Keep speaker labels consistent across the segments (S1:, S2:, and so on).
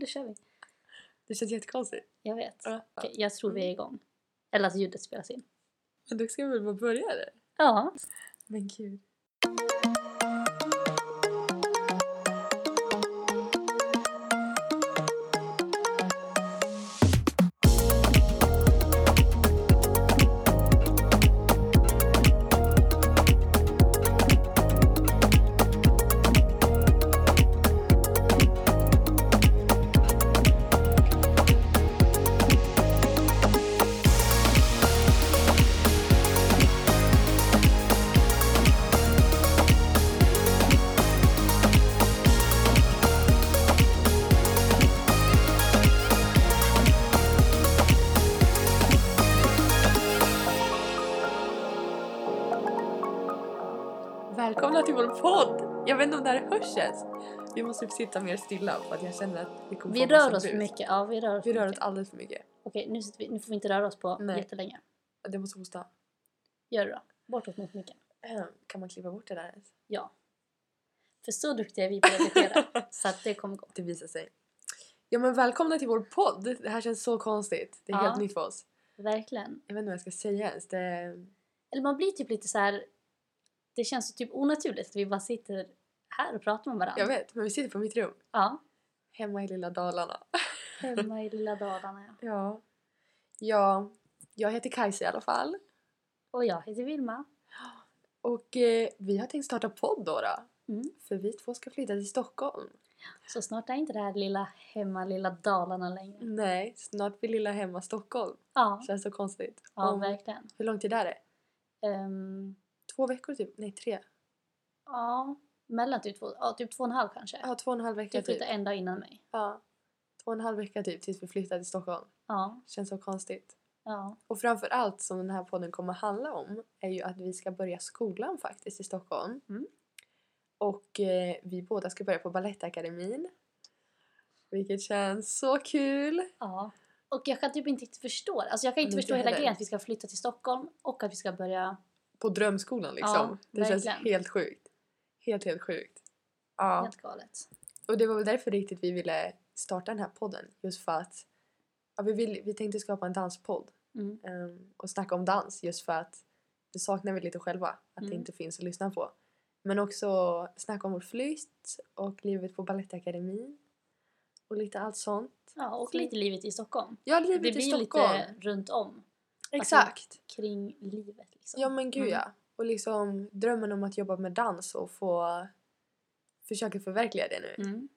S1: då kör vi.
S2: Det känns jättekonstigt.
S1: Jag vet.
S2: Ja. Mm.
S1: Okej, jag tror vi är igång. Eller att ljudet spelas in.
S2: Men då ska vi väl bara börja det?
S1: Ja.
S2: Men gud. Välkomna till vår podd! Jag vet inte om det här hörs ens. Vi måste typ sitta mer stilla för att jag känner att vi kommer
S1: Vi
S2: få
S1: rör
S2: massa
S1: oss för
S2: brus.
S1: mycket. Ja, vi rör oss
S2: Vi
S1: för
S2: rör oss
S1: mycket.
S2: alldeles för mycket.
S1: Okej, nu, sitter vi, nu får vi inte röra oss på
S2: Nej.
S1: jättelänge.
S2: Jag måste hosta.
S1: Gör det då. Bortåt mot micken.
S2: Ehm, Kan man klippa bort det där ens?
S1: Ja. För så duktiga är vi på att repetera. så att det kommer gå.
S2: Det visar sig. Ja men välkomna till vår podd! Det här känns så konstigt. Det är
S1: Ja.
S2: helt nytt för oss.
S1: Verkligen.
S2: Jag vet inte vad jag ska säga ens. Det...
S1: Eller man blir typ lite så här. Det känns så typ onaturligt att vi bara sitter här och pratar med varandra.
S2: Jag vet, men vi sitter på mitt rum.
S1: Ja.
S2: Hemma i lilla Dalarna.
S1: Hemma i lilla Dalarna ja.
S2: Ja. Ja, jag heter Kajsa i alla fall.
S1: Och jag heter Vilma.
S2: Och eh, vi har tänkt starta podd då, då.
S1: Mm.
S2: För vi två ska flytta till Stockholm.
S1: Så snart är inte det här lilla hemma lilla Dalarna längre.
S2: Nej, snart blir lilla hemma Stockholm.
S1: Ja,
S2: Känns så konstigt.
S1: ja
S2: Om-
S1: verkligen.
S2: hur lång tid är det?
S1: Ehm,
S2: Två veckor typ? Nej, tre.
S1: ja, mellan typ två, ja, typ två och en halv kanske.
S2: Ja, två och en halv vecka
S1: du
S2: typ.
S1: flyttade en dag innan mig.
S2: Ja. Två och en halv vecka typ tills vi flyttar till Stockholm.
S1: Ja,
S2: Känns så konstigt.
S1: ja.
S2: Och framför allt som den här podden kommer handla om är ju att vi ska börja skolan faktiskt i Stockholm.
S1: Mm.
S2: Och eh, vi båda ska börja på Balettakademin. Vilket känns så kul!
S1: ja. Och jag kan typ inte riktigt förstå. Alltså jag kan inte
S2: Mm, Inte
S1: förstå hela
S2: heller.
S1: grejen att vi ska flytta till Stockholm och att vi ska börja...
S2: På drömskolan liksom.
S1: Ja,
S2: det känns
S1: verkligen.
S2: helt sjukt. Helt, helt sjukt. Ja.
S1: Helt galet.
S2: Och det var väl därför riktigt vi ville starta den här podden. Just för att ja, vi, vill, vi tänkte skapa en danspodd
S1: Mm.
S2: ehm, och snacka om dans just för att det saknar vi lite själva. Att det
S1: Mm.
S2: inte finns att lyssna på. Men också snacka om vår flytt och livet på Balettakademin. Och lite allt sånt.
S1: Ja, och lite livet i Stockholm.
S2: Ja,
S1: Det
S2: livet i
S1: blir
S2: Stockholm.
S1: lite runt om. Alltså,
S2: Exakt.
S1: Kring livet liksom.
S2: Ja men gud
S1: Mm.
S2: ja. Och liksom drömmen om att jobba med dans och få försöka förverkliga det nu.
S1: Mm.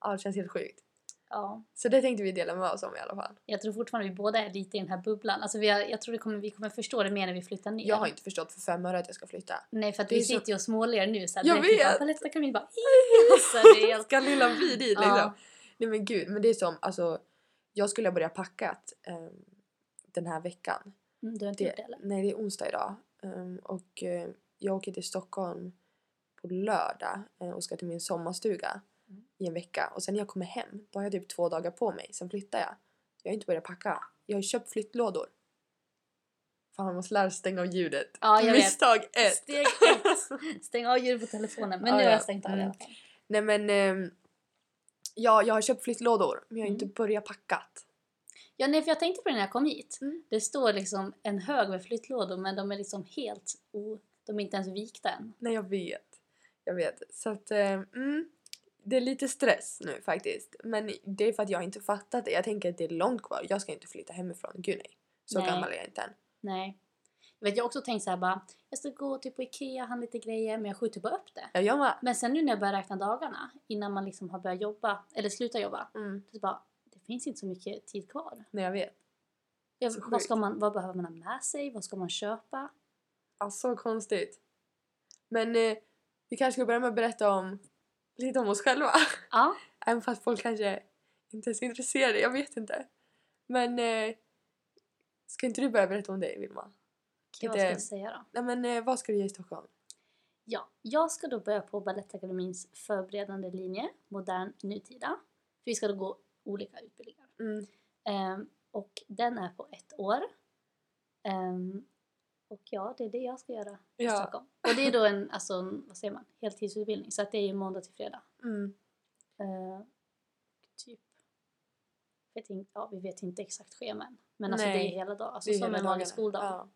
S2: Ja, det känns helt sjukt.
S1: Ja.
S2: Så det tänkte vi dela med oss om i alla fall.
S1: Jag tror fortfarande vi båda är lite i den här bubblan. Alltså vi har, jag tror det kommer, vi kommer förstå det mer när vi flyttar ner.
S2: Jag har inte förstått för fem öre att jag ska flytta.
S1: Nej för att
S2: Det
S1: vi
S2: är så-
S1: sitter ju och småler nu så att
S2: Jag
S1: direkt vi
S2: vet.
S1: bara, "Paletta kan vi bara "Ih!" alltså, det är helt...
S2: Ska lilla vi dit liksom?
S1: Ja.
S2: Nej men gud, men det är som alltså. Jag skulle ha börjat packat ehm, den här veckan.
S1: mm, Du har inte gjort det eller?
S2: nej det är onsdag idag. Ehm, och eh, jag åker till Stockholm på lördag eh, och ska till min sommarstuga
S1: Mm.
S2: i en vecka. Och sen när jag kommer hem, då har jag typ två dagar på mig. Sen flyttar jag. Jag har inte börjat packa. Jag har köpt flyttlådor. Fan man måste lära sig stänga av ljudet.
S1: Ja, jag vet.
S2: Misstag ett!
S1: Steg ett! Stäng av ljudet på telefonen. Men
S2: Ja,
S1: nu har
S2: ja. Mm.
S1: jag stängt av det i alla fall.
S2: Nej men ehm, ja, jag har köpt flyttlådor men jag har
S1: Mm.
S2: inte börjat packat.
S1: Ja nej för jag tänkte på det när jag kom hit.
S2: Mm.
S1: Det står liksom en hög med flyttlådor men de är liksom helt o... De är inte ens vikta än.
S2: Nej jag vet. Jag vet. Så att ehm, mm, det är lite stress nu faktiskt. Men det är för att jag inte fattat det. Jag tänker att det är långt kvar. Jag ska inte flytta hemifrån. Gud nej. Så
S1: Nej.
S2: gammal är jag inte än.
S1: Nej. Jag vet jag har också tänkt så här bara, jag ska gå typ på Ikea, handla lite grejer men jag skjuter bara upp det.
S2: Ja, jag med.
S1: Men sen nu när jag börjar räkna dagarna innan man liksom har börjat jobba, eller slutar jobba,
S2: Mm,
S1: Så bara, det finns inte så mycket tid kvar.
S2: nej jag vet.
S1: Jag,
S2: Så
S1: vad,
S2: sjukt.
S1: ska man, vad behöver man ha med sig? Vad ska man köpa?
S2: Ja, Ah, så konstigt. Men eh, vi kanske ska börja med att berätta om lite om oss själva.
S1: Ja,
S2: Även fast folk kanske inte är så intresserade. Jag vet inte. Men eh, ska inte du börja berätta om dig Vilma?
S1: okej, vad
S2: Lite-
S1: ska jag säga då?
S2: Nej men eh, vad ska du göra i Stockholm?
S1: Ja, jag ska då börja på Balettakademins förberedande linje, modern nutida. För vi ska då gå olika utbildningar.
S2: Mm.
S1: Ehm, och den är på ett år. Ehm, och ja, det är det jag ska göra i
S2: Ja.
S1: Stockholm. Och det är då en, alltså, en, vad säger man, heltidsutbildning. Så att det är ju måndag till fredag.
S2: Mm.
S1: Ehm, typ vet inte, ja, vi vet inte exakt scheman. Men alltså
S2: Nej,
S1: det är hela dagen, alltså
S2: Det är
S1: som
S2: hela
S1: en vanlig
S2: dagarna.
S1: skoldag.
S2: Ja.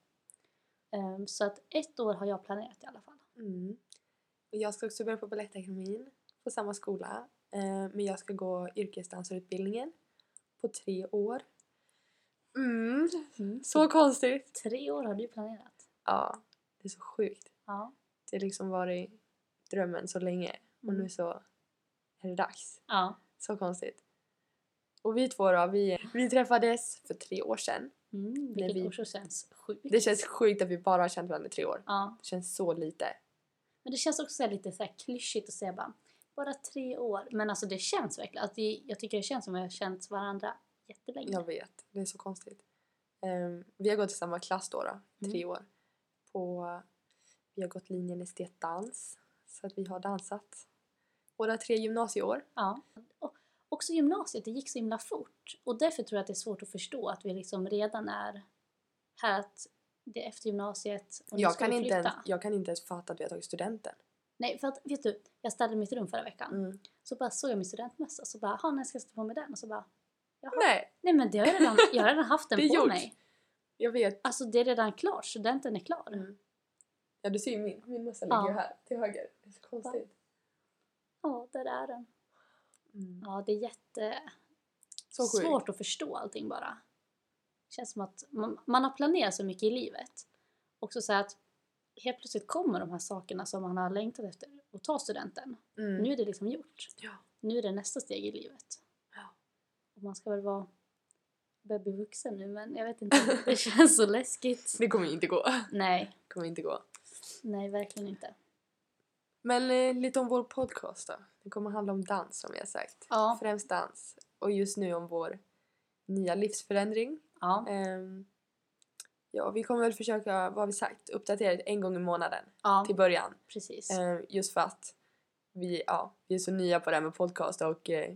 S1: Ehm, så att ett år har jag planerat i alla fall.
S2: Mm. Och Jag ska också börja på Balettakademin på samma skola. Eh, men jag ska gå yrkesdansarutbildningen på tre år. Mm. Så konstigt!
S1: Tre år har du planerat.
S2: Ja, det är så sjukt.
S1: Ja.
S2: Det har liksom varit drömmen så länge och nu så är det dags.
S1: Ja.
S2: Så konstigt. Och vi två då, vi, vi träffades för tre år sedan.
S1: Mm, vilket
S2: vi-
S1: också känns sjukt.
S2: Det känns sjukt att vi bara har känt varandra i tre år.
S1: Ja.
S2: Det känns så lite.
S1: Men det känns också så här lite så här klyschigt att säga bara, bara tre år. Men alltså det känns verkligen. Alltså det, jag tycker det känns som att vi har känt varandra jättelänge.
S2: Jag vet, det är så konstigt. Ehm, vi har gått i samma klass då, då i
S1: Mm.
S2: tre år. På, vi har gått linjen estetdans. Så att vi har dansat. Våra tre gymnasieår.
S1: Ja. Och också gymnasiet, det gick så himla fort. Och därför tror jag att det är svårt att förstå att vi liksom redan är här att det är efter gymnasiet och nu
S2: Jag
S1: ska
S2: kan,
S1: vi
S2: inte ens,
S1: flytta.
S2: jag kan inte ens fatta att vi har tagit studenten.
S1: Nej, för att vet du, jag städade mitt rum förra veckan.
S2: Mm.
S1: Så bara såg jag min studentmössa så bara, "Ha, när ska jag sätta på mig den? Och så bara,
S2: Nej,
S1: nej men det har jag, redan, jag har redan haft
S2: Det
S1: den
S2: är
S1: på
S2: gjort.
S1: mig.
S2: jag vet.
S1: Alltså det är redan klart, studenten är klar.
S2: Mm. Ja, du ser ju min, min mössa
S1: Ja.
S2: ligger ju här till höger. Det är så konstigt.
S1: Ja, där är den. Ja, det är jätte...
S2: Mm. Så sjukt.
S1: svårt att förstå allting bara. känns som att man, man har planerat så mycket i livet. Också så här att helt plötsligt kommer de här sakerna som man har längtat efter att ta studenten.
S2: Mm.
S1: Nu är det liksom gjort.
S2: Ja.
S1: Nu är det nästa steg i livet.
S2: Ja.
S1: Och man ska väl vara börja bli vuxen nu men jag vet inte. Det känns så läskigt.
S2: Det kommer ju inte gå.
S1: Nej,
S2: Det kommer inte gå.
S1: nej verkligen inte.
S2: Men eh, lite om vår podcast då. Det kommer handla om dans som vi har sagt.
S1: Ja.
S2: Främst dans. Och just nu om vår nya livsförändring.
S1: Ja,
S2: Ehm, ja, vi kommer väl försöka, vad har vi sagt, uppdatera det en gång i månaden
S1: ja
S2: till början.
S1: precis.
S2: Ehm, just för att vi, ja, vi är så nya på det här med podcast och eh,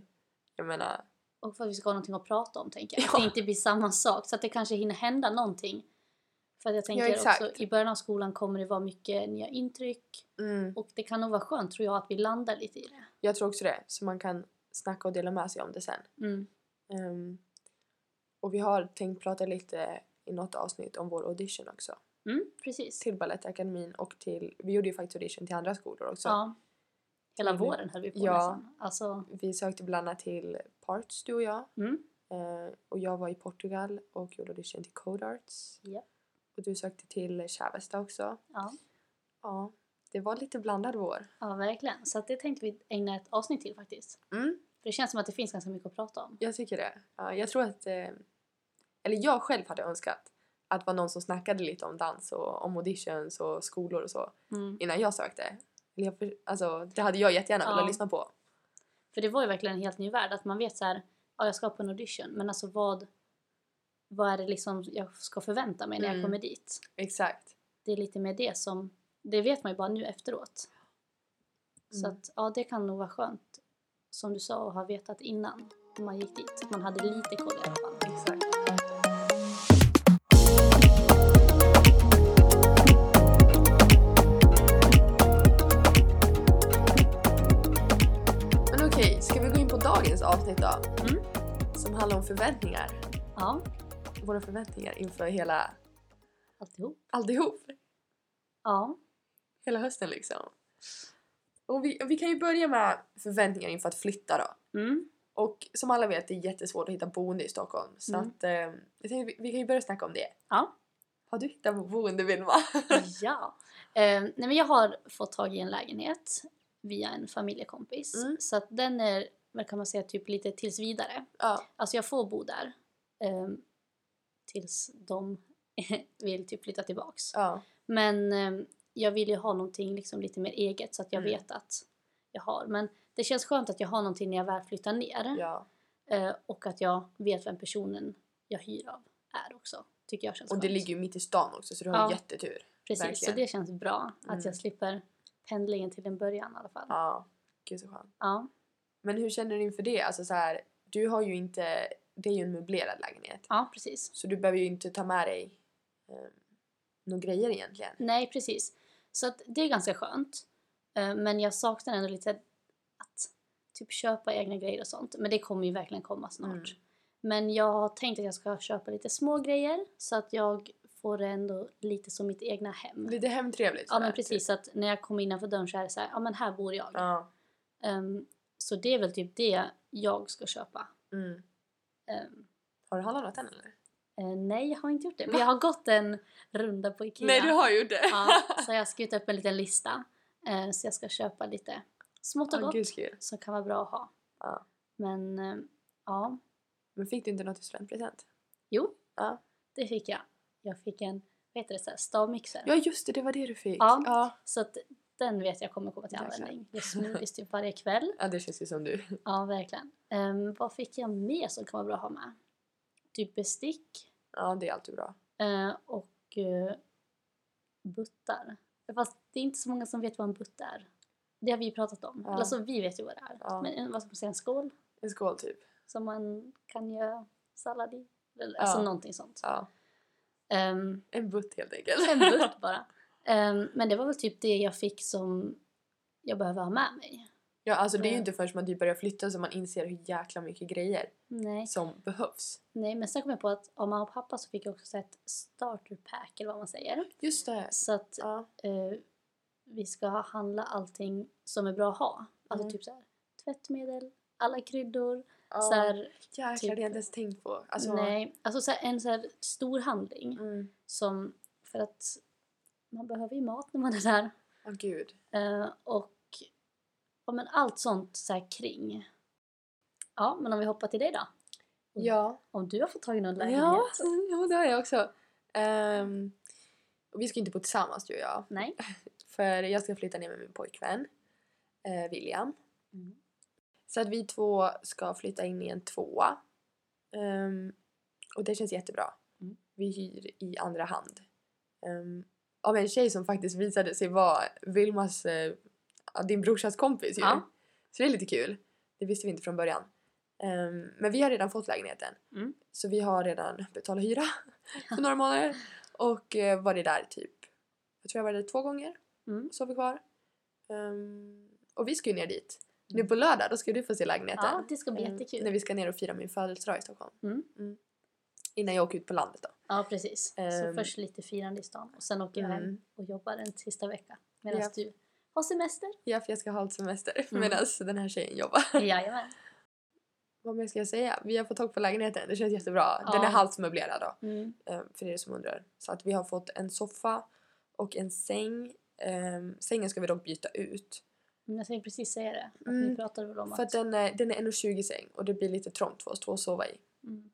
S2: jag menar,
S1: Och för att vi ska ha någonting att prata om tänker jag. Att
S2: Ja.
S1: det inte blir samma sak. Så att det kanske hinner hända någonting. För att jag tänker
S2: exakt.
S1: också i början av skolan kommer det vara mycket nya intryck.
S2: mm,
S1: Och det kan nog vara skönt tror jag att vi landar lite i det.
S2: jag tror också det. Så man kan snacka och dela med sig om det sen.
S1: Mm.
S2: Ehm, och vi har tänkt prata lite i något avsnitt om vår audition också.
S1: Mm, precis.
S2: till Balettakademin och till, vi gjorde ju faktiskt audition till andra skolor också.
S1: Ja. Hela
S2: Trevligt.
S1: våren höll vi på
S2: Ja.
S1: nästan. Alltså,
S2: Vi sökte bland annat till Parts du och jag
S1: mm,
S2: eh, och jag var i Portugal och gjorde audition till Code Arts.
S1: Ja.
S2: Och du sökte till Chavesta också.
S1: ja.
S2: Ja, det var lite blandad vår.
S1: ja, verkligen. Så att det tänkte vi ägna ett avsnitt till faktiskt.
S2: Mm,
S1: För det känns som att det finns ganska mycket att prata om.
S2: jag tycker det. Ja, jag tror att, eh, eller jag själv hade önskat att det var någon som snackade lite om dans och om auditions och skolor och så
S1: Mm.
S2: innan jag sökte. Eller jag, för- alltså, det hade jag jättegärna
S1: Ja.
S2: velat lyssna på.
S1: För det var ju verkligen en helt ny värld. Att man vet så här, ja jag ska på en audition. Men alltså vad, vad är det liksom jag ska förvänta mig när
S2: Mm.
S1: jag kommer dit?
S2: Exakt.
S1: det är lite mer det som, det vet man ju bara nu efteråt. Så
S2: Mm.
S1: att ja, det kan nog vara skönt som du sa och ha vetat innan när man gick dit. Att man hade lite koll i alla fall.
S2: Exakt. Men okej, ska vi gå in på dagens avsnitt då?
S1: Mm.
S2: Som handlar om förväntningar.
S1: Ja,
S2: Våra förväntningar inför hela
S1: alltihop.
S2: alltihop.
S1: Ja,
S2: Hela hösten liksom. Och vi, vi kan ju börja med förväntningar inför att flytta då.
S1: mm.
S2: Och som alla vet det är jättesvårt att hitta boende i Stockholm. Så
S1: Mm.
S2: att eh, jag tänkte, vi, vi kan ju börja snacka om det.
S1: ja.
S2: Har du hittat boende Vilma?
S1: ja. Eh, nej men jag har fått tag i en lägenhet via en familjekompis.
S2: Mm.
S1: Så att den är, vad kan man säga, typ lite tills vidare.
S2: ja.
S1: Alltså jag får bo där eh, tills de vill typ flytta tillbaks.
S2: Ja.
S1: Men eh, jag vill ju ha någonting liksom lite mer eget så att jag
S2: Mm.
S1: vet att jag har. Men det känns skönt att jag har någonting när jag väl flyttar ner.
S2: ja.
S1: Eh, och att jag vet vem personen jag hyr av är också. Tycker jag känns
S2: Och
S1: skönt.
S2: det ligger ju mitt i stan också så du har
S1: Ja.
S2: ju jättetur.
S1: Precis, så
S2: verkligen.
S1: det känns bra att
S2: Mm.
S1: jag slipper pendlingen till en början i alla fall. Ja.
S2: Ja. Gud så skönt. Men hur känner du inför det? Alltså så här, du har ju inte, det är ju en möblerad lägenhet.
S1: ja, precis.
S2: Så du behöver ju inte ta med dig eh, några grejer egentligen.
S1: Nej, precis. Så att det är ganska skönt. Eh, men jag saknar
S2: Mm.
S1: ändå lite att typ köpa egna grejer och sånt. Men det kommer ju verkligen komma snart. Men jag har tänkt att jag ska köpa lite små grejer så att jag får det ändå lite som mitt egna hem.
S2: Lite hemtrevligt.
S1: Ja men
S2: sådär,
S1: precis,
S2: typ.
S1: så att när jag kommer innanför dörren så är det så här, ja men här bor jag.
S2: Ja.
S1: Ehm, så det är väl typ det jag ska köpa.
S2: Mm.
S1: Ehm,
S2: Har du handlat än eller?
S1: eh, nej, jag har inte gjort det. Men jag har gått en runda på IKEA.
S2: Nej du har gjort det.
S1: Ja, så jag har skrivit upp en liten lista. Eh, så jag ska köpa lite smått och
S2: Åh,
S1: gott
S2: gud, så kul.
S1: som kan vara bra att ha.
S2: Ja.
S1: Men eh, ja,
S2: Men fick du inte något i studentpresent?
S1: jo.
S2: Ja.
S1: Det fick jag. Jag fick en, vad heter det, så här, stavmixer.
S2: Ja just det, det var det du fick.
S1: Ja.
S2: Ja,
S1: Så att den vet jag kommer komma till
S2: Jäklar.
S1: användning. Jag smidigst typ varje kväll.
S2: Ja, det känns ju som du.
S1: Ja, verkligen. Ehm, vad fick jag mer som kan vara bra att ha med? Typ bestick
S2: Ja det är alltid bra.
S1: eh, och eh, buttar. Fast det är inte så många som vet vad en butt är. Det har vi pratat om.
S2: Ja.
S1: Eller så vi vet ju vad det är.
S2: Ja.
S1: Men en, vad ska man säga, en skål
S2: En skål typ.
S1: som man kan göra sallad i. Eller, Alltså
S2: Ja.
S1: någonting sånt.
S2: Ja.
S1: Ehm,
S2: En butt helt enkelt.
S1: en butt bara. Ehm, men det var väl typ det jag fick som jag behöver ha med mig.
S2: Ja alltså det är ju
S1: Mm.
S2: inte förrän man typ börjar flytta som man inser hur jäkla mycket grejer
S1: Nej.
S2: som behövs.
S1: Nej, men sen kom jag på att av mamma och pappa så fick jag också så här ett starter pack eller vad man säger.
S2: Just det.
S1: Så att
S2: Ja.
S1: eh, vi ska handla allting som är bra att ha. Alltså
S2: Mm.
S1: typ så här, tvättmedel, alla kryddor.
S2: ja.
S1: Så här,
S2: Jäklar
S1: typ-
S2: det har jag inte ens tänkt på. Alltså,
S1: nej, alltså så här, en så här stor handling
S2: Mm.
S1: som för att man behöver ju mat när man är där.
S2: Åh gud.
S1: Eh, och ja, men allt sånt så här kring. Ja, men om vi hoppar till dig då. Mm.
S2: Ja.
S1: Om du har fått tag i någon lägenhet?
S2: Ja, mm, ja, det har jag också. Ehm, och vi ska inte bo tillsammans du och jag.
S1: Nej?
S2: För jag ska flytta ner med min pojkvän eh, William.
S1: Mm.
S2: Så att vi två ska flytta in i en tvåa. Ehm, och det känns jättebra.
S1: Mm.
S2: Vi hyr i andra hand. Ehm, av en tjej som faktiskt visade sig vara Vilmas, eh, ja, din brorsas kompis ju.
S1: Ja.
S2: Så det är lite kul. Det visste vi inte från början. Ehm, men vi har redan fått lägenheten.
S1: Mm.
S2: Så vi har redan betalat hyra för några månader. Och eh, varit där typ, jag tror jag var där två gånger
S1: Mm.
S2: sover kvar. Ehm, och vi ska ju ner dit.
S1: Mm.
S2: Nu på lördag då ska du få se lägenheten.
S1: Ja, det ska bli
S2: Ehm,
S1: jättekul.
S2: När vi ska ner och fira min födelsedag i Stockholm.
S1: Mm.
S2: Innan jag åker ut på landet då.
S1: Ja, precis. så
S2: Ehm.
S1: först lite firande i stan och sen åker jag hem
S2: Mm.
S1: och jobbar en sista vecka. Medan
S2: Japp.
S1: du har semester.
S2: Ja för jag ska ha ett semester
S1: Mm.
S2: medan den här tjejen jobbar.
S1: Jajamän.
S2: Vad mer ska jag säga? Vi har fått tag på lägenheten, det känns jättebra.
S1: Ja.
S2: Den är halvt möblerad då.
S1: Mm.
S2: ehm, för er som undrar. Så att vi har fått en soffa och en säng. Ehm, sängen ska vi dock byta ut.
S1: Men Jag tänkte precis säga det. Att
S2: Mm.
S1: Ni pratade väl om
S2: För
S1: att...
S2: att den är, den är 1,20 säng och det blir lite trångt för oss två att sova i.
S1: Mm.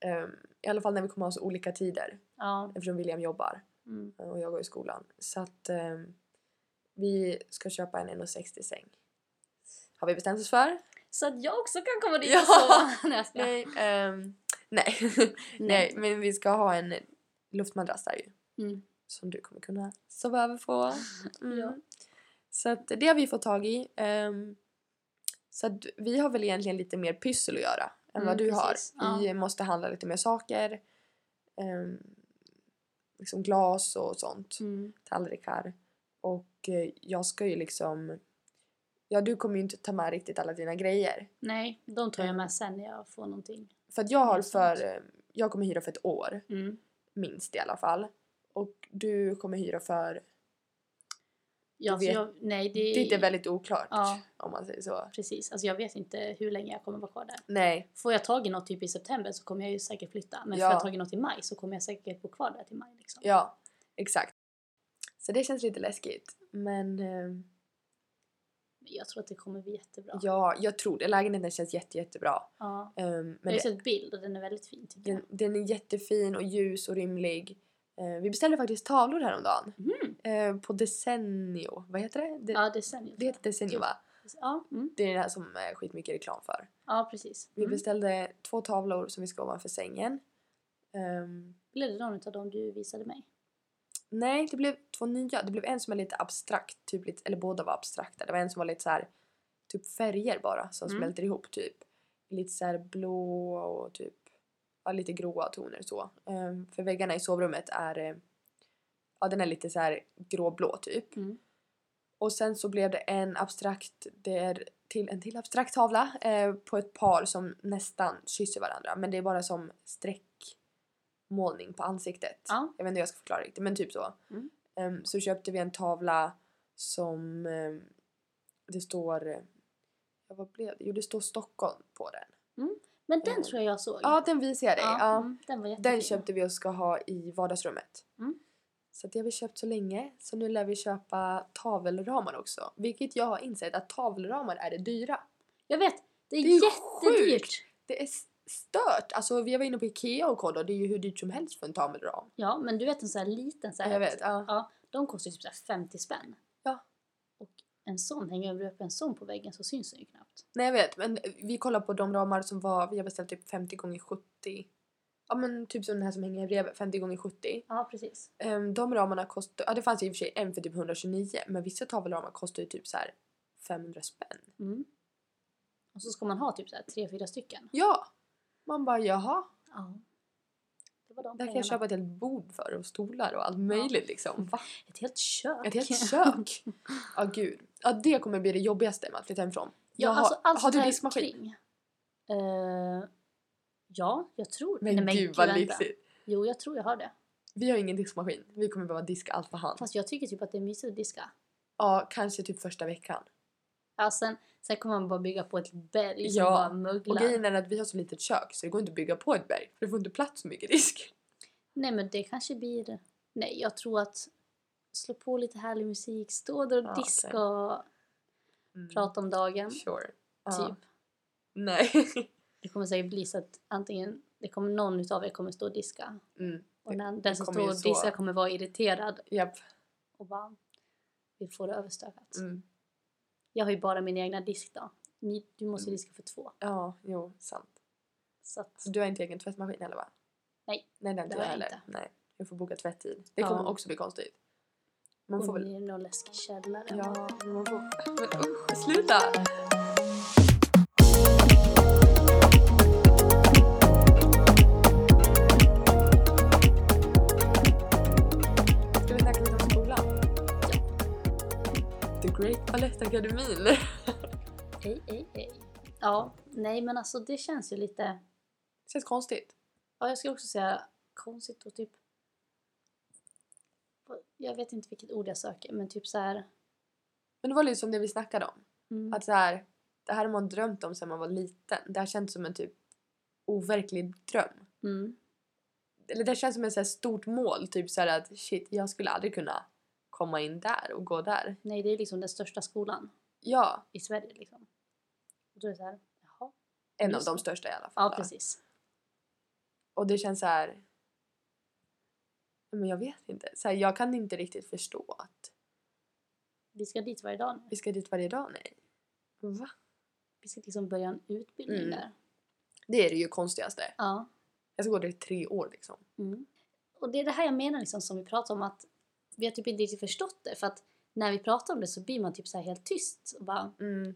S2: Ehm, I alla fall när vi kommer ha så olika tider
S1: Ja.
S2: eftersom William jobbar. eh,
S1: Mm.
S2: och jag går i skolan. Så att ehm, vi ska köpa en 1,60 säng. Har vi bestämt oss för?
S1: Så att jag också kan komma dit
S2: Ja.
S1: och sova. Nej, jag skojar.
S2: Nej. ehm, nej. nej, men vi ska ha en luftmadrass där ju.
S1: Mm.
S2: Som du kommer kunna sova över på. Mm.
S1: Ja.
S2: Så att det har vi fått tag i. ehm, så att vi har väl egentligen lite mer pyssel att göra än
S1: Mm,
S2: vad du
S1: precis. Ja.
S2: har. Vi måste handla lite mer saker. ehm, liksom glas och sånt
S1: Mm.
S2: tallrikar. Och eh, jag ska ju liksom... Ja, du kommer ju inte ta med riktigt alla dina grejer.
S1: Nej, de tar jag med sen när jag får någonting.
S2: För att jag
S1: Ja,
S2: har
S1: sant.
S2: för... eh, Jag kommer hyra för ett år,
S1: Mm.
S2: minst i alla fall. Och du kommer hyra för...
S1: Ja, så
S2: Du vet-
S1: jag, nej, det
S2: Det, är väldigt oklart,
S1: Ja.
S2: om man säger så.
S1: Precis, alltså jag vet inte hur länge jag kommer vara kvar där.
S2: Nej,
S1: Får jag tag i något typ i september så kommer jag ju säkert flytta. Men
S2: Ja.
S1: får jag tag i något i maj så kommer jag säkert bo kvar där till maj. Liksom.
S2: ja, exakt. Så det känns lite läskigt. Men eh,
S1: Men jag tror att det kommer bli jättebra.
S2: ja, jag tror det. Lägenheten känns jätte, jättebra.
S1: Ja.
S2: Um,
S1: jag
S2: men
S1: har
S2: det,
S1: ju sett bild och den är väldigt fin tycker jag.
S2: den, den är jättefin och ljus och rymlig. Eh, vi beställde faktiskt tavlor häromdagen.
S1: Mm.
S2: Eh, på Decennio. Vad heter det? det
S1: Ja, det ser ni.
S2: Det heter Decennio va?
S1: Ja, mm.
S2: Det är den här som är skitmycket reklam för.
S1: ja precis.
S2: Vi
S1: Mm.
S2: beställde två tavlor som vi ska ovanför sängen. Ehm,
S1: Blev det någon utav dem du visade mig?
S2: nej, det blev två nya. Det blev en som är lite abstrakt, typ lite, eller båda var abstrakta. Det var en som var lite så här, typ färger bara som
S1: Mm.
S2: smälter ihop typ. Lite så här blå och typ, ja lite gråa toner så. Ehm, för väggarna i sovrummet är, eh, ja den är lite så här gråblå typ.
S1: Mm.
S2: Och sen så blev det en abstrakt, det är till en till abstrakt tavla eh, på ett par som nästan kysser varandra men det är bara som streckmålning på ansiktet.
S1: Ja.
S2: Jag vet inte hur jag ska förklara riktigt men typ så.
S1: Mm.
S2: Ehm, så köpte vi en tavla som ehm, det står... eh, Ja, vad blev det? Jo det står Stockholm på den.
S1: Men den tror jag jag såg.
S2: Eh, Ja den visar jag dig.
S1: Ja,
S2: Ja.
S1: mm, den var jättefin.
S2: Den köpte vi och ska ha i vardagsrummet.
S1: Mm.
S2: Så det har vi köpt så länge. Så nu lär vi köpa tavelramar också. Vilket jag har insett att tavelramar är det dyra.
S1: Jag vet, det är,
S2: Det är ju
S1: jättedyrt.
S2: Det är s- stört! Alltså vi var inne på Ikea och kollade och det är ju hur dyrt som helst för en tavelram.
S1: Ja, men du vet en sån här liten så
S2: Ja,
S1: här.
S2: jag vet. Ja.
S1: Ja, de kostar ju typ så här 50 spänn.
S2: Ja.
S1: Och en sån, hänger du upp en sån på väggen så syns den ju knappt.
S2: Nej jag vet men eh, vi kollade på de ramar som var, vi har beställt typ 50 gånger 70. Ja men typ som den här som hänger bredvid, 50 gånger 70.
S1: Ja, precis.
S2: Ehm, de ramarna kostar, ja det fanns ju i och för sig en för typ 129 men vissa tavelramar kostar ju typ så här 500 spänn.
S1: Mm. Och så ska man ha typ så här tre, fyra stycken.
S2: Ja! Man bara jaha,
S1: Ja. Det var de
S2: där kan
S1: pengarna.
S2: jag köpa ett helt bord för och stolar och allt möjligt liksom. Va?
S1: Ett helt kök.
S2: Ett helt kök! Ja gud. Ja det kommer bli det jobbigaste med att flytta hemifrån.
S1: Ja,
S2: Jag har-
S1: alltså allt
S2: har
S1: sånt
S2: du
S1: här
S2: diskmaskin?
S1: kring. Eh, ja, jag tror
S2: Men,
S1: Nej,
S2: gud vad
S1: vänta.
S2: lyxigt.
S1: Jo, jag tror jag har det.
S2: Vi har ingen diskmaskin. Vi kommer behöva diska allt för hand.
S1: Fast jag tycker typ att det är mysigt att diska.
S2: Ja, kanske typ första veckan.
S1: Ja, sen, sen kommer man bara bygga på ett berg som
S2: Ja,
S1: bara
S2: Och
S1: möglar.
S2: grejen är att vi har så litet kök så det går inte att bygga på ett berg. För det får inte plats så mycket disk.
S1: Nej, men det kanske blir... Nej, jag tror att slå på lite härlig musik, stå där och
S2: Ja,
S1: diska
S2: okej.
S1: och
S2: Mm.
S1: prata om dagen.
S2: Sure. Ja.
S1: Typ.
S2: Nej.
S1: Det kommer säkert bli så att antingen det kommer någon utav er kommer stå och diska
S2: Mm.
S1: och den, den som
S2: kommer
S1: står
S2: ju
S1: och
S2: så.
S1: diskar kommer vara irriterad
S2: Japp.
S1: och bara vi får det överstökat.
S2: Mm.
S1: Jag har ju bara min egna disk då. Ni, du måste ju
S2: Mm.
S1: diska för två.
S2: Ja, jo, sant.
S1: Så att,
S2: Så du har inte egen tvättmaskin heller va?
S1: Nej,
S2: Nej, det har inte
S1: det
S2: jag
S1: har jag
S2: heller.
S1: inte.
S2: Nej. Jag får boka tvättid. Det
S1: Ja.
S2: kommer också bli konstigt. Man får
S1: hon
S2: väl...
S1: är i någon läskig källare.
S2: Ja, men man får... Men usch, sluta! Ska vi snacka lite om skolan? The Great Balettakademin!
S1: Ej, ej, ej. Ja, nej men alltså det känns ju lite...
S2: Känns konstigt.
S1: Ja, jag skulle också säga konstigt och typ... Jag vet inte vilket ord jag söker, men typ så här...
S2: Men det var lite som det vi snackade om.
S1: Mm,
S2: Att så här, det här har man drömt om sedan man var liten. Det här känns som en typ overklig dröm.
S1: mm,
S2: eller det känns som ett så här stort mål. Typ så här att shit, jag skulle aldrig kunna komma in där och gå där.
S1: nej, det är liksom den största skolan
S2: Ja,
S1: i Sverige liksom. Och då är det så här, jaha.
S2: en
S1: Just
S2: av de
S1: det.
S2: största i alla fall.
S1: Ja,
S2: då.
S1: precis.
S2: Och det känns så här... Men jag vet inte. Så här, jag kan inte riktigt förstå att
S1: Vi ska dit varje dag nu.
S2: vi ska dit varje dag. Nej. Va?
S1: Vi ska liksom börja en utbildning
S2: Mm.
S1: där.
S2: Det är det ju konstigaste.
S1: Ja.
S2: Jag ska gå där i tre år liksom.
S1: Mm. Och det är det här jag menar liksom som vi pratar om att vi har typ inte riktigt förstått det för att när vi pratar om det så blir man typ så här helt tyst och bara
S2: Mm.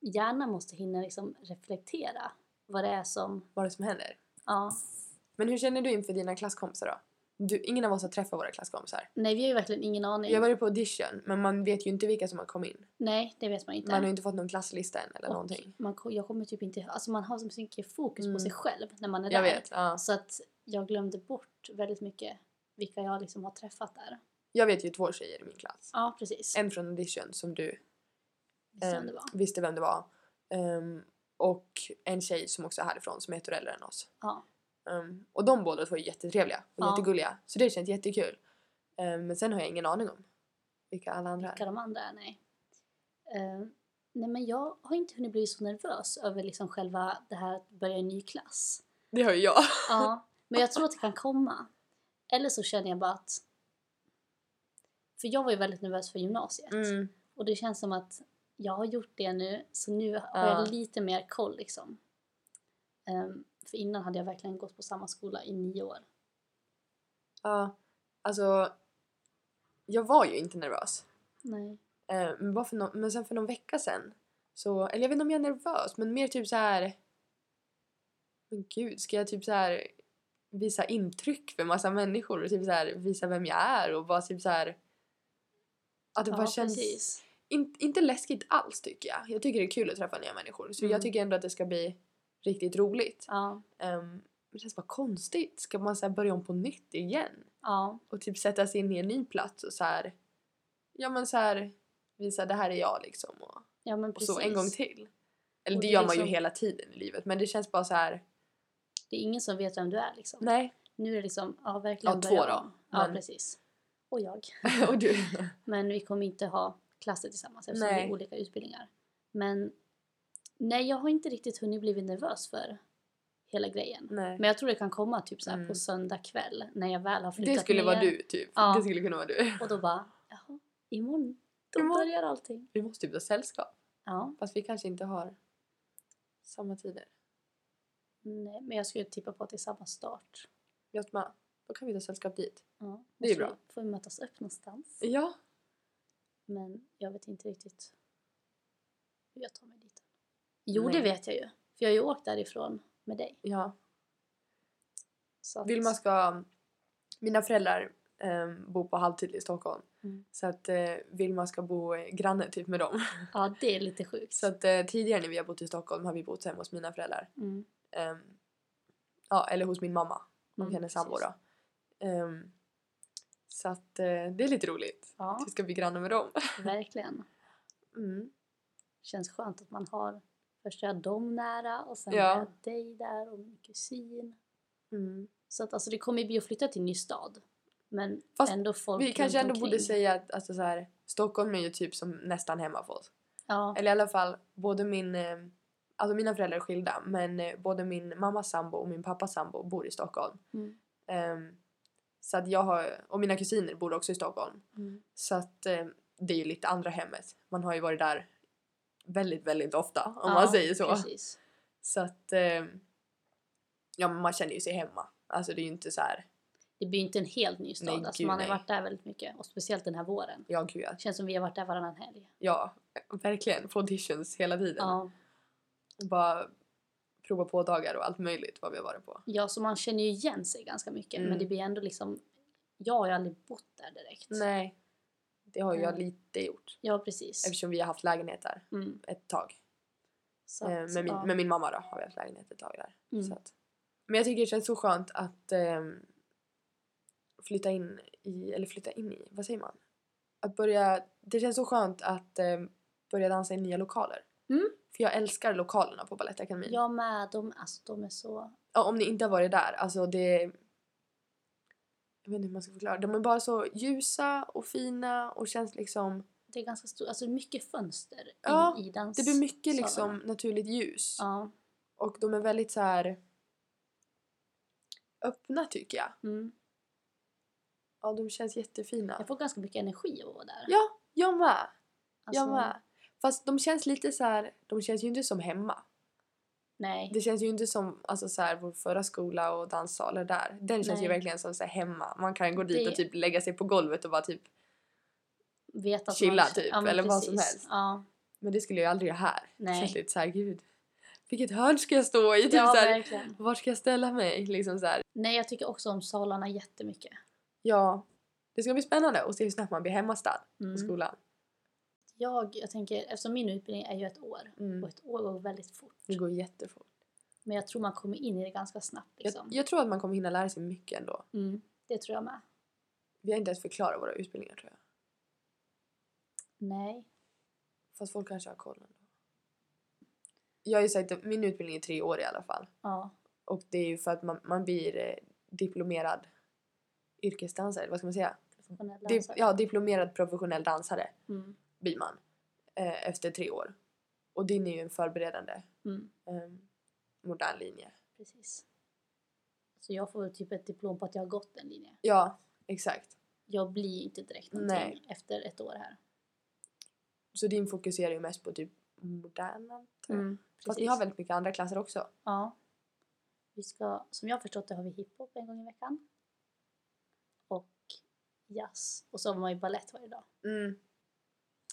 S1: hjärnan måste hinna liksom reflektera vad det är som,
S2: Vad är det som händer.
S1: ja.
S2: Men hur känner du inför dina klasskompisar då? Du, ingen av oss har träffat våra klasskompisar.
S1: Nej vi har ju verkligen ingen aning.
S2: Jag var ju på audition men man vet ju inte vilka som har kommit in.
S1: Nej det vet man inte.
S2: Man har ju inte fått någon klasslista än eller
S1: Och
S2: någonting.
S1: Man, ko- jag kommer typ inte, alltså man har så mycket fokus på
S2: Mm.
S1: sig själv när man är
S2: Jag
S1: där.
S2: vet. Ja.
S1: Så att jag glömde bort väldigt mycket vilka jag liksom har träffat där.
S2: Jag vet ju två tjejer i min klass.
S1: Ja precis.
S2: En från audition som du
S1: Visst kan
S2: ehm,
S1: det vara.
S2: visste vem det var. Ehm, och en tjej som också är härifrån som är ett år äldre än oss.
S1: Ja.
S2: Ehm, och de båda två är jättetrevliga och
S1: Ja.
S2: jättegulliga. Så det känns jättekul. Ehm, men sen har jag ingen aning om vilka alla andra
S1: vilka
S2: är.
S1: de andra är, nej. Eh, nej men jag har inte hunnit bli så nervös över liksom själva det här att börja i en ny klass.
S2: Det har ju jag.
S1: Ja, men jag tror att det kan komma. Eller så känner jag bara att... För jag var ju väldigt nervös för gymnasiet.
S2: Mm.
S1: Och det känns som att jag har gjort det nu, så nu har
S2: Ja.
S1: jag lite mer koll liksom. Ehm, för innan hade jag verkligen gått på samma skola i nio år.
S2: Ja. Alltså, jag var ju inte nervös.
S1: Nej.
S2: Eh, men, bara för nå- men sen för någon vecka sen så, eller jag vet inte om jag är nervös men mer typ så här. Men gud, ska jag typ så här visa intryck för massa människor och typ så här visa vem jag är och bara typ så här att det
S1: Ja,
S2: bara känns
S1: precis.
S2: in, inte läskigt alls tycker jag. Jag tycker det är kul att träffa nya människor så
S1: Mm.
S2: jag tycker ändå att det ska bli riktigt roligt.
S1: Ja.
S2: Ehm, det känns bara konstigt. Ska man så här börja om på nytt igen?
S1: Ja.
S2: Och typ sätta sig in i en ny plats och så här, ja men så här visa det här är jag liksom och,
S1: Ja men
S2: och
S1: precis.
S2: så en gång till. Eller
S1: Och
S2: det
S1: det är
S2: gör man
S1: liksom-
S2: ju hela tiden i livet men det känns bara så här.
S1: Det är ingen som vet vem du är liksom.
S2: nej.
S1: Nu är det liksom, ja verkligen
S2: Ja, två
S1: börja
S2: då,
S1: om. Ja
S2: men-
S1: precis. Och jag.
S2: och du.
S1: Men vi kommer inte ha klasser tillsammans eftersom
S2: Nej.
S1: det är olika utbildningar. Men nej, jag har inte riktigt hunnit bli nervös för hela grejen.
S2: Nej.
S1: Men jag tror det kan komma typ så här på
S2: Mm.
S1: söndag kväll när jag väl har flyttat
S2: Det skulle
S1: ner.
S2: vara du typ.
S1: Ja.
S2: Det skulle kunna vara du.
S1: Och då bara, jaha, imorgon, då
S2: Imorgon.
S1: börjar allting.
S2: Vi måste typ ha sällskap.
S1: Ja,
S2: Fast vi kanske inte har samma tider.
S1: nej, men jag skulle tippa på att det är samma start.
S2: Jag med. Då kan vi ta sällskap dit.
S1: Ja,
S2: Det är
S1: så
S2: bra.
S1: Får vi mötas upp någonstans.
S2: Ja.
S1: Men jag vet inte riktigt hur jag tar mig dit. Jo, det
S2: Nej.
S1: vet jag ju. För jag har ju åkt därifrån med dig.
S2: Ja.
S1: Så att,
S2: Vilma ska... Mina föräldrar ehm, bor på halvtid i Stockholm.
S1: Mm.
S2: Så att eh, Vilma ska bo eh, granne typ med dem.
S1: Ja, det är lite sjukt.
S2: Så att eh, tidigare när vi har bott i Stockholm har vi bott hemma hos mina föräldrar.
S1: Mm.
S2: Ehm, ja, eller hos min mamma och
S1: Mm,
S2: hennes sambo
S1: precis.
S2: då. Ehm, så att eh, det är lite roligt.
S1: Ja,
S2: Att vi ska bli granne med dem.
S1: verkligen.
S2: Mm.
S1: Känns skönt att man har först har jag dem nära och sen
S2: Ja.
S1: har jag dig där och min kusin.
S2: Mm.
S1: Så att alltså det kommer ju bli att flytta till en ny stad. Men
S2: Fast
S1: ändå folk
S2: Vi
S1: runt
S2: kanske ändå borde
S1: omkring.
S2: säga att alltså, så här, Stockholm är ju typ som nästan hemma för oss.
S1: Ja,
S2: Eller i alla fall, både min... eh, Alltså mina föräldrar är skilda, men eh, både min mammas sambo och min pappas sambo bor i Stockholm.
S1: mm.
S2: Ehm, så att jag har... Och mina kusiner bor också i Stockholm.
S1: Mm.
S2: Så att eh, det är ju lite andra hemmet. Man har ju varit där väldigt, väldigt ofta om man
S1: mm. Ja,
S2: säger så.
S1: Precis.
S2: Så att... Eh, ja, men man känner ju sig hemma. Alltså det är ju inte så här...
S1: Det blir ju inte en helt ny stad.
S2: Nej,
S1: alltså
S2: gud,
S1: man har
S2: nej.
S1: varit där väldigt mycket och speciellt den här våren.
S2: Ja, gud ja.
S1: Det känns som vi har varit där varannan helg.
S2: Ja, verkligen. På auditions hela tiden.
S1: Ja.
S2: Och bara prova på dagar och allt möjligt vad vi har varit på.
S1: ja, så man känner ju igen sig ganska mycket.
S2: Mm.
S1: Men det blir ändå liksom... Jag har ju aldrig bott där direkt.
S2: Nej. Det har ju jag
S1: Mm.
S2: lite gjort.
S1: Ja, precis.
S2: Eftersom vi har haft lägenhet där
S1: Mm.
S2: ett tag.
S1: Så
S2: Eh,
S1: att,
S2: med, min,
S1: ja.
S2: med min mamma då har vi haft lägenhet ett tag där.
S1: Mm.
S2: Så att. Men jag tycker det känns så skönt att ehm, flytta in i, eller flytta in i, vad säger man? Att börja, det känns så skönt att ehm, börja dansa i nya lokaler.
S1: Mm.
S2: För jag älskar lokalerna på Balettakademin.
S1: Jag med. De, alltså, de är så...
S2: Ja, om ni inte har varit där, alltså det... Jag vet inte hur man ska förklara. De är bara så ljusa och fina och känns liksom...
S1: Det är ganska stort. Alltså mycket fönster
S2: Ja,
S1: i, i dans.
S2: Det blir mycket
S1: sa
S2: liksom
S1: de.
S2: naturligt ljus.
S1: Ja.
S2: Och de är väldigt så här öppna tycker jag.
S1: Mm.
S2: Ja, de känns jättefina.
S1: Jag får ganska mycket energi av att vara där.
S2: Ja, Jag med!
S1: Alltså,
S2: Jag med! Fast de känns lite så här, de känns ju inte som hemma.
S1: Nej.
S2: Det känns ju inte som alltså så här, vår förra skola och danssaler där. Den känns ju
S1: Nej.
S2: verkligen som så här, hemma. Man kan gå dit
S1: Det-
S2: och typ lägga sig på golvet och bara typ
S1: Vet att
S2: chilla
S1: man,
S2: typ,
S1: men
S2: eller vad som
S1: precis.
S2: helst.
S1: Ja,
S2: Men det skulle jag aldrig göra här.
S1: Nej.
S2: Det känns lite såhär, gud. Vilket hörn ska jag stå i? Typ
S1: ja
S2: så här,
S1: verkligen.
S2: var ska jag ställa mig? Liksom så här.
S1: Nej, jag tycker också om salarna jättemycket.
S2: Ja. Det ska bli spännande att se hur snabbt man blir hemmastad på
S1: Mm.
S2: skolan.
S1: Jag, jag tänker, eftersom min utbildning är ju ett år och
S2: Mm.
S1: ett år går väldigt fort.
S2: Det går jättefort.
S1: Men jag tror man kommer in i det ganska snabbt liksom.
S2: Jag, jag tror att man kommer hinna lära sig mycket ändå.
S1: Mm, det tror jag med.
S2: Vi har inte ens förklarat våra utbildningar tror jag.
S1: Nej.
S2: Fast folk kanske har koll ändå. Jag har ju sagt att min utbildning är tre år i alla fall.
S1: Ja.
S2: Och det är ju för att man, man blir eh, diplomerad yrkesdansare, vad ska man säga?
S1: Professionell
S2: Di-
S1: dansare.
S2: ja, diplomerad professionell dansare.
S1: Mm,
S2: blir man eh, efter tre år. Och din är ju en förberedande
S1: mm,
S2: eh, modern linje.
S1: precis. Så jag får väl typ ett diplom på att jag har gått en linje.
S2: Ja, exakt.
S1: Jag blir ju inte direkt någonting
S2: Nej.
S1: efter ett år här.
S2: Så din fokuserar ju mest på typ moderna. tror jag. Fast ni
S1: precis.
S2: har väldigt mycket andra klasser också.
S1: Ja. Vi ska, som jag har förstått det har vi hiphop en gång i veckan. Och jazz. Och så har man ju balett varje dag.
S2: Mm.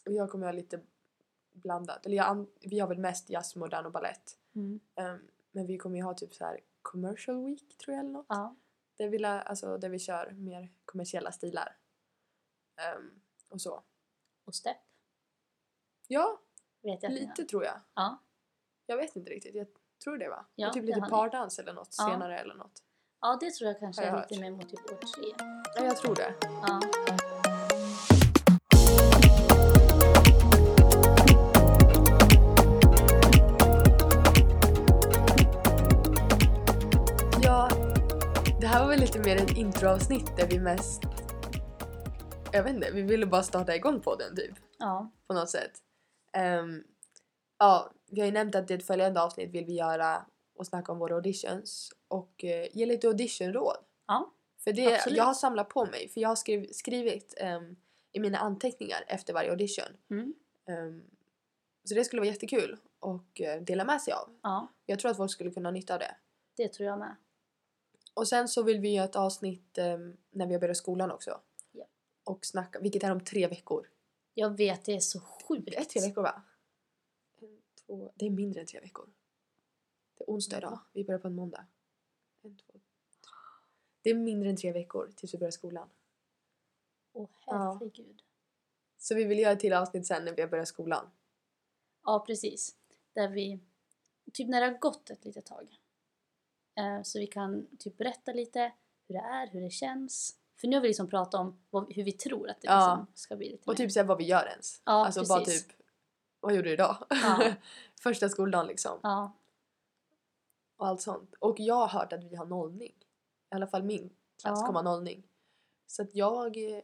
S2: Och jag kommer ha lite blandat. Eller jag, an- vi har väl mest jazz, modern och ballett. Ehm, men vi kommer ju ha typ så här commercial week tror jag eller något.
S1: Ja.
S2: Där, vi lär, alltså, där vi kör mer kommersiella stilar. Ehm, och så.
S1: Och step.
S2: Ja,
S1: Vet jag att ni gör.
S2: lite tror jag.
S1: Ja.
S2: Jag vet inte riktigt. Jag tror det va?
S1: Ja,
S2: och typ
S1: det
S2: lite
S1: har ni.
S2: pardans eller något
S1: Ja.
S2: senare eller något.
S1: Ja, det tror jag kanske
S2: Har jag
S1: är lite mer mot typ år tre.
S2: Ja, jag tror det.
S1: Ja.
S2: Ja, det här var väl lite mer ett introavsnitt där vi mest... Jag vet inte, vi ville bara starta igång podden typ.
S1: Ja.
S2: På något sätt. Ehm, ja, vi har ju nämnt att i ett följande avsnitt vill vi göra och snacka om våra auditions och eh, ge lite auditionråd.
S1: Ja.
S2: För det,
S1: Absolut.
S2: jag har samlat på mig, för jag har skriv, skrivit ehm, i mina anteckningar efter varje audition.
S1: Mm.
S2: Ehm, så det skulle vara jättekul och eh, dela med sig av.
S1: ja,
S2: Jag tror att folk skulle kunna ha nytta av det.
S1: det tror jag med.
S2: Och sen så vill vi göra ett avsnitt ehm, när vi har börjat skolan också.
S1: Ja.
S2: Och snacka, vilket är om tre veckor.
S1: Jag vet, det är så
S2: Det är
S1: sjukt.
S2: tre veckor va? En, två, det är mindre än tre veckor. Det är onsdag idag, vi börjar på en måndag. En, två, tre. Det är mindre än tre veckor tills vi börjar skolan.
S1: Åh
S2: Ja.
S1: herregud. Ja.
S2: Så vi vill göra ett till avsnitt sen när vi har börjat skolan.
S1: precis. Där vi, typ när det har gått ett litet tag. Eh, så vi kan typ berätta lite hur det är, hur det känns. För nu har vi liksom pratat om vad, hur vi tror att det
S2: Ja.
S1: liksom ska bli lite
S2: Och
S1: mer.
S2: typ såhär vad vi gör ens.
S1: Ja,
S2: alltså bara
S1: precis.
S2: typ, vad gjorde du idag?
S1: Ja.
S2: Första skoldagen liksom.
S1: Ja,
S2: och allt sånt. Och jag har hört att vi har nollning. I alla fall min klass
S1: Ja.
S2: kommer ha nollning. Så att jag... eh,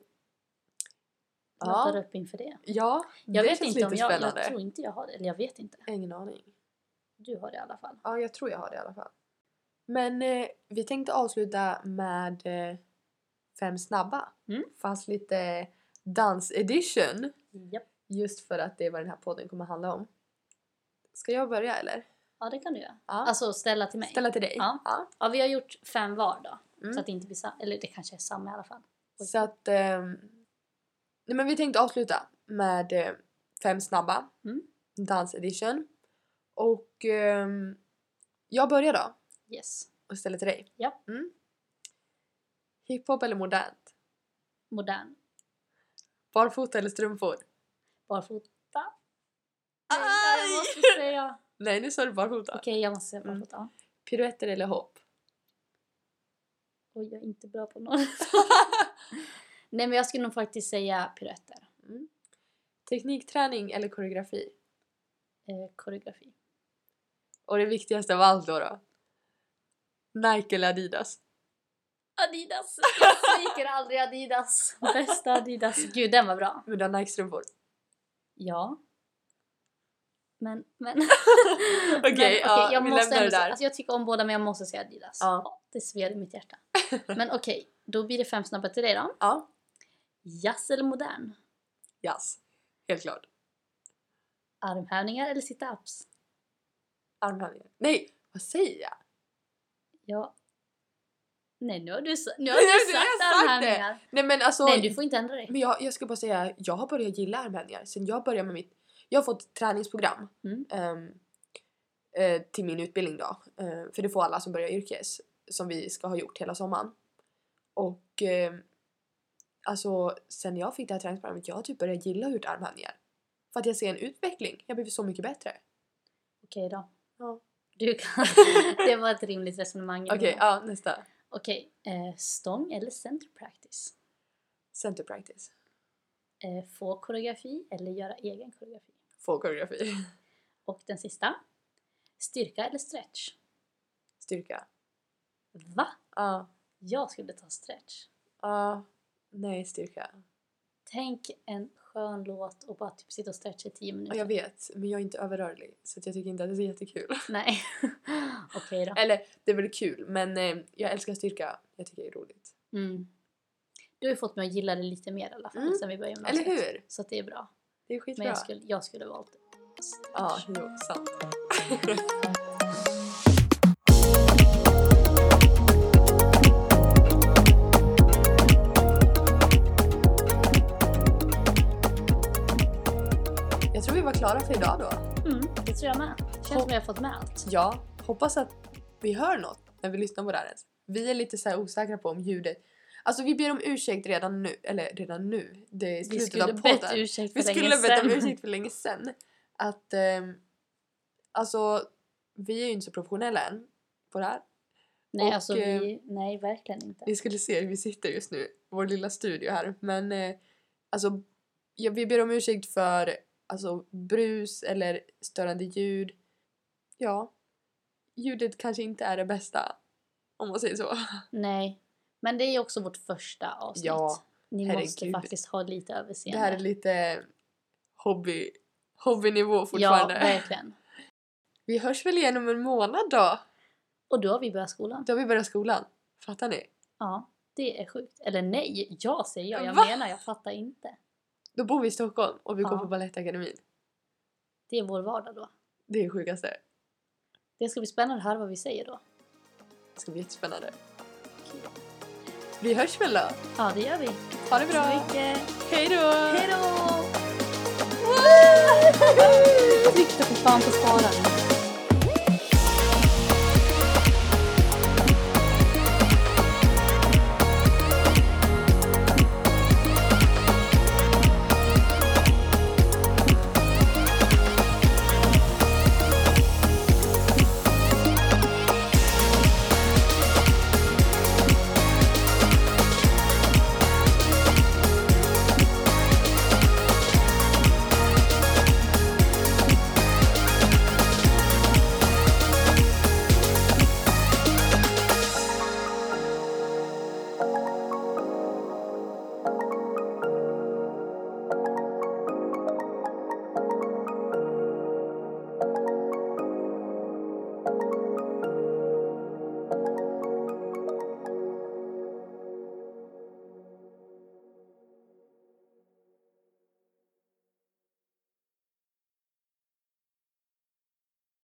S1: laddar
S2: Ja,
S1: upp inför det.
S2: ja
S1: Jag
S2: det
S1: vet
S2: känns
S1: inte om
S2: lite
S1: jag,
S2: spännande.
S1: jag tror inte jag har det. Eller jag vet inte.
S2: Ingen aning.
S1: Du har det i alla fall.
S2: Ja, jag tror jag har det i alla fall. Men eh, vi tänkte avsluta med eh, fem snabba.
S1: Mm.
S2: Fast lite dans edition.
S1: Japp.
S2: Just för att det är vad den här podden kommer handla om. Ska jag börja eller?
S1: Ja, det kan du göra.
S2: Ja.
S1: Alltså ställa till mig.
S2: Ställa till dig?
S1: Ja.
S2: ja.
S1: Ja, vi har gjort fem var då.
S2: Mm.
S1: Så att det inte blir samma. Eller det kanske är samma i alla fall. Oj.
S2: Så att... ehm, nej men vi tänkte avsluta med eh, fem snabba.
S1: Mm.
S2: Dans edition. Och ehm, jag börjar då
S1: Yes.
S2: och ställer till dig.
S1: Ja.
S2: Mm. Hiphop eller modernt?
S1: Modern.
S2: Barfota eller strumpor?
S1: Barfota. Nej, nej, jag måste säga.
S2: Nej nu sa du barfota.
S1: Okej, jag måste säga
S2: Mm.
S1: barfota. Ja.
S2: Piruetter eller hopp?
S1: Oj, jag är inte bra på något. Nej, men jag skulle nog faktiskt säga piruetter.
S2: Teknikträning eller koreografi?
S1: Eh, koreografi.
S2: Och det viktigaste av allt då då? Nike eller Adidas?
S1: Adidas! Jag sviker aldrig Adidas. Bästa Adidas. Gud, den var bra.
S2: Men du har Nike-strumpor?
S1: Ja. Men, men.
S2: Okej,
S1: Men
S2: ja,
S1: jag
S2: vi
S1: måste
S2: lämnar det
S1: ändå säga-
S2: där.
S1: Alltså, jag tycker om båda men jag måste säga Adidas.
S2: Ja.
S1: det sved i mitt hjärta. Men okej, då blir det fem snabba till dig då.
S2: Ja.
S1: Jazz eller modern?
S2: Jazz. Helt klart.
S1: Armhävningar eller sit-ups?
S2: Armhävningar. Nej! Vad säger jag?
S1: Ja. Nej, nu har du, sa- nu har
S2: Nej,
S1: du
S2: nu har jag
S1: sagt
S2: sagt det.
S1: armhävningar.
S2: Nej men alltså...
S1: Nej, du får inte ändra dig.
S2: Men jag, jag ska bara säga, jag har börjat gilla armhävningar sen jag började med mitt... Jag har fått träningsprogram
S1: Mm.
S2: ehm, eh, till min utbildning då. Eh, för det får alla som börjar yrkes. Som vi ska ha gjort hela sommaren. Och ehm, alltså sen jag fick det här träningsprogrammet, jag har typ börjat gilla att göra armhävningar. För att jag ser en utveckling. Jag blir så mycket bättre.
S1: Okej då.
S2: Ja.
S1: Du kan. det var ett rimligt resonemang.
S2: Okej, ja nästa.
S1: Okej, eh, stång eller center practice?
S2: Center practice.
S1: Eh, få koreografi eller göra egen koreografi?
S2: Få koreografi.
S1: Och den sista. Styrka eller stretch?
S2: Styrka.
S1: Va?
S2: Ja.
S1: Jag skulle ta stretch.
S2: ja. nej, styrka.
S1: Tänk en skön låt och bara typ sitta och stretcha i tio
S2: Ja,
S1: minuter.
S2: jag vet, men jag är inte överrörlig. Så att jag tycker inte att det är jättekul.
S1: Nej. Okej då.
S2: Eller det är väl kul men eh, jag älskar styrka. Jag tycker det är roligt.
S1: Mm. Du har ju fått mig att gilla det lite mer i alla fall
S2: Mm.
S1: sen vi började
S2: Eller
S1: gymnasiet.
S2: hur?
S1: Så att det är bra.
S2: Det är skitbra.
S1: Men jag skulle, jag skulle valt stretch.
S2: Ja, jo, sant. Jag tror vi var klara för idag då.
S1: Mm, det tror jag med. Känns som att jag har fått med allt.
S2: Ja, hoppas att vi hör något när vi lyssnar på det här. ens. Vi är lite så här osäkra på om ljudet, Alltså vi ber om ursäkt redan nu, eller redan nu, det är
S1: Vi
S2: slutet
S1: skulle
S2: av
S1: bett
S2: podden.
S1: ursäkt för
S2: Vi
S1: länge
S2: skulle bett om
S1: sedan.
S2: ursäkt för länge sedan. Att ehm, alltså vi är ju inte så professionella än på det här.
S1: Nej,
S2: och,
S1: alltså
S2: eh,
S1: vi, nej verkligen inte.
S2: Ni skulle se hur vi sitter just nu, vår lilla studio här. Men eh, alltså, ja, vi ber om ursäkt för alltså, brus eller störande ljud. Ja, ljudet kanske inte är det bästa, om man säger så.
S1: Nej, men det är ju också vårt första avsnitt.
S2: Ja,
S1: Ni måste
S2: herregud.
S1: faktiskt ha lite
S2: Det
S1: överseende.
S2: här är lite hobby, hobbynivå
S1: Ja,
S2: fortfarande.
S1: verkligen.
S2: vi hörs väl igen om en månad då?
S1: Och då har vi börjat skolan.
S2: Då har vi börjat skolan. Fattar ni?
S1: Ja, det är sjukt. Eller nej, jag säger jag. Jag
S2: Va?
S1: menar, jag fattar inte.
S2: Då bor vi i Stockholm och vi går
S1: Ja.
S2: på Balettakademin.
S1: Det är vår vardag då.
S2: Det är det sjukaste.
S1: Det ska bli spännande att höra vad vi säger då.
S2: Det ska bli jättespännande. Vi hörs väl då?
S1: Ja, det gör vi.
S2: Ha det bra!
S1: Så mycket.
S2: Hej då!
S1: Hej då! Tryck då för fan på spara.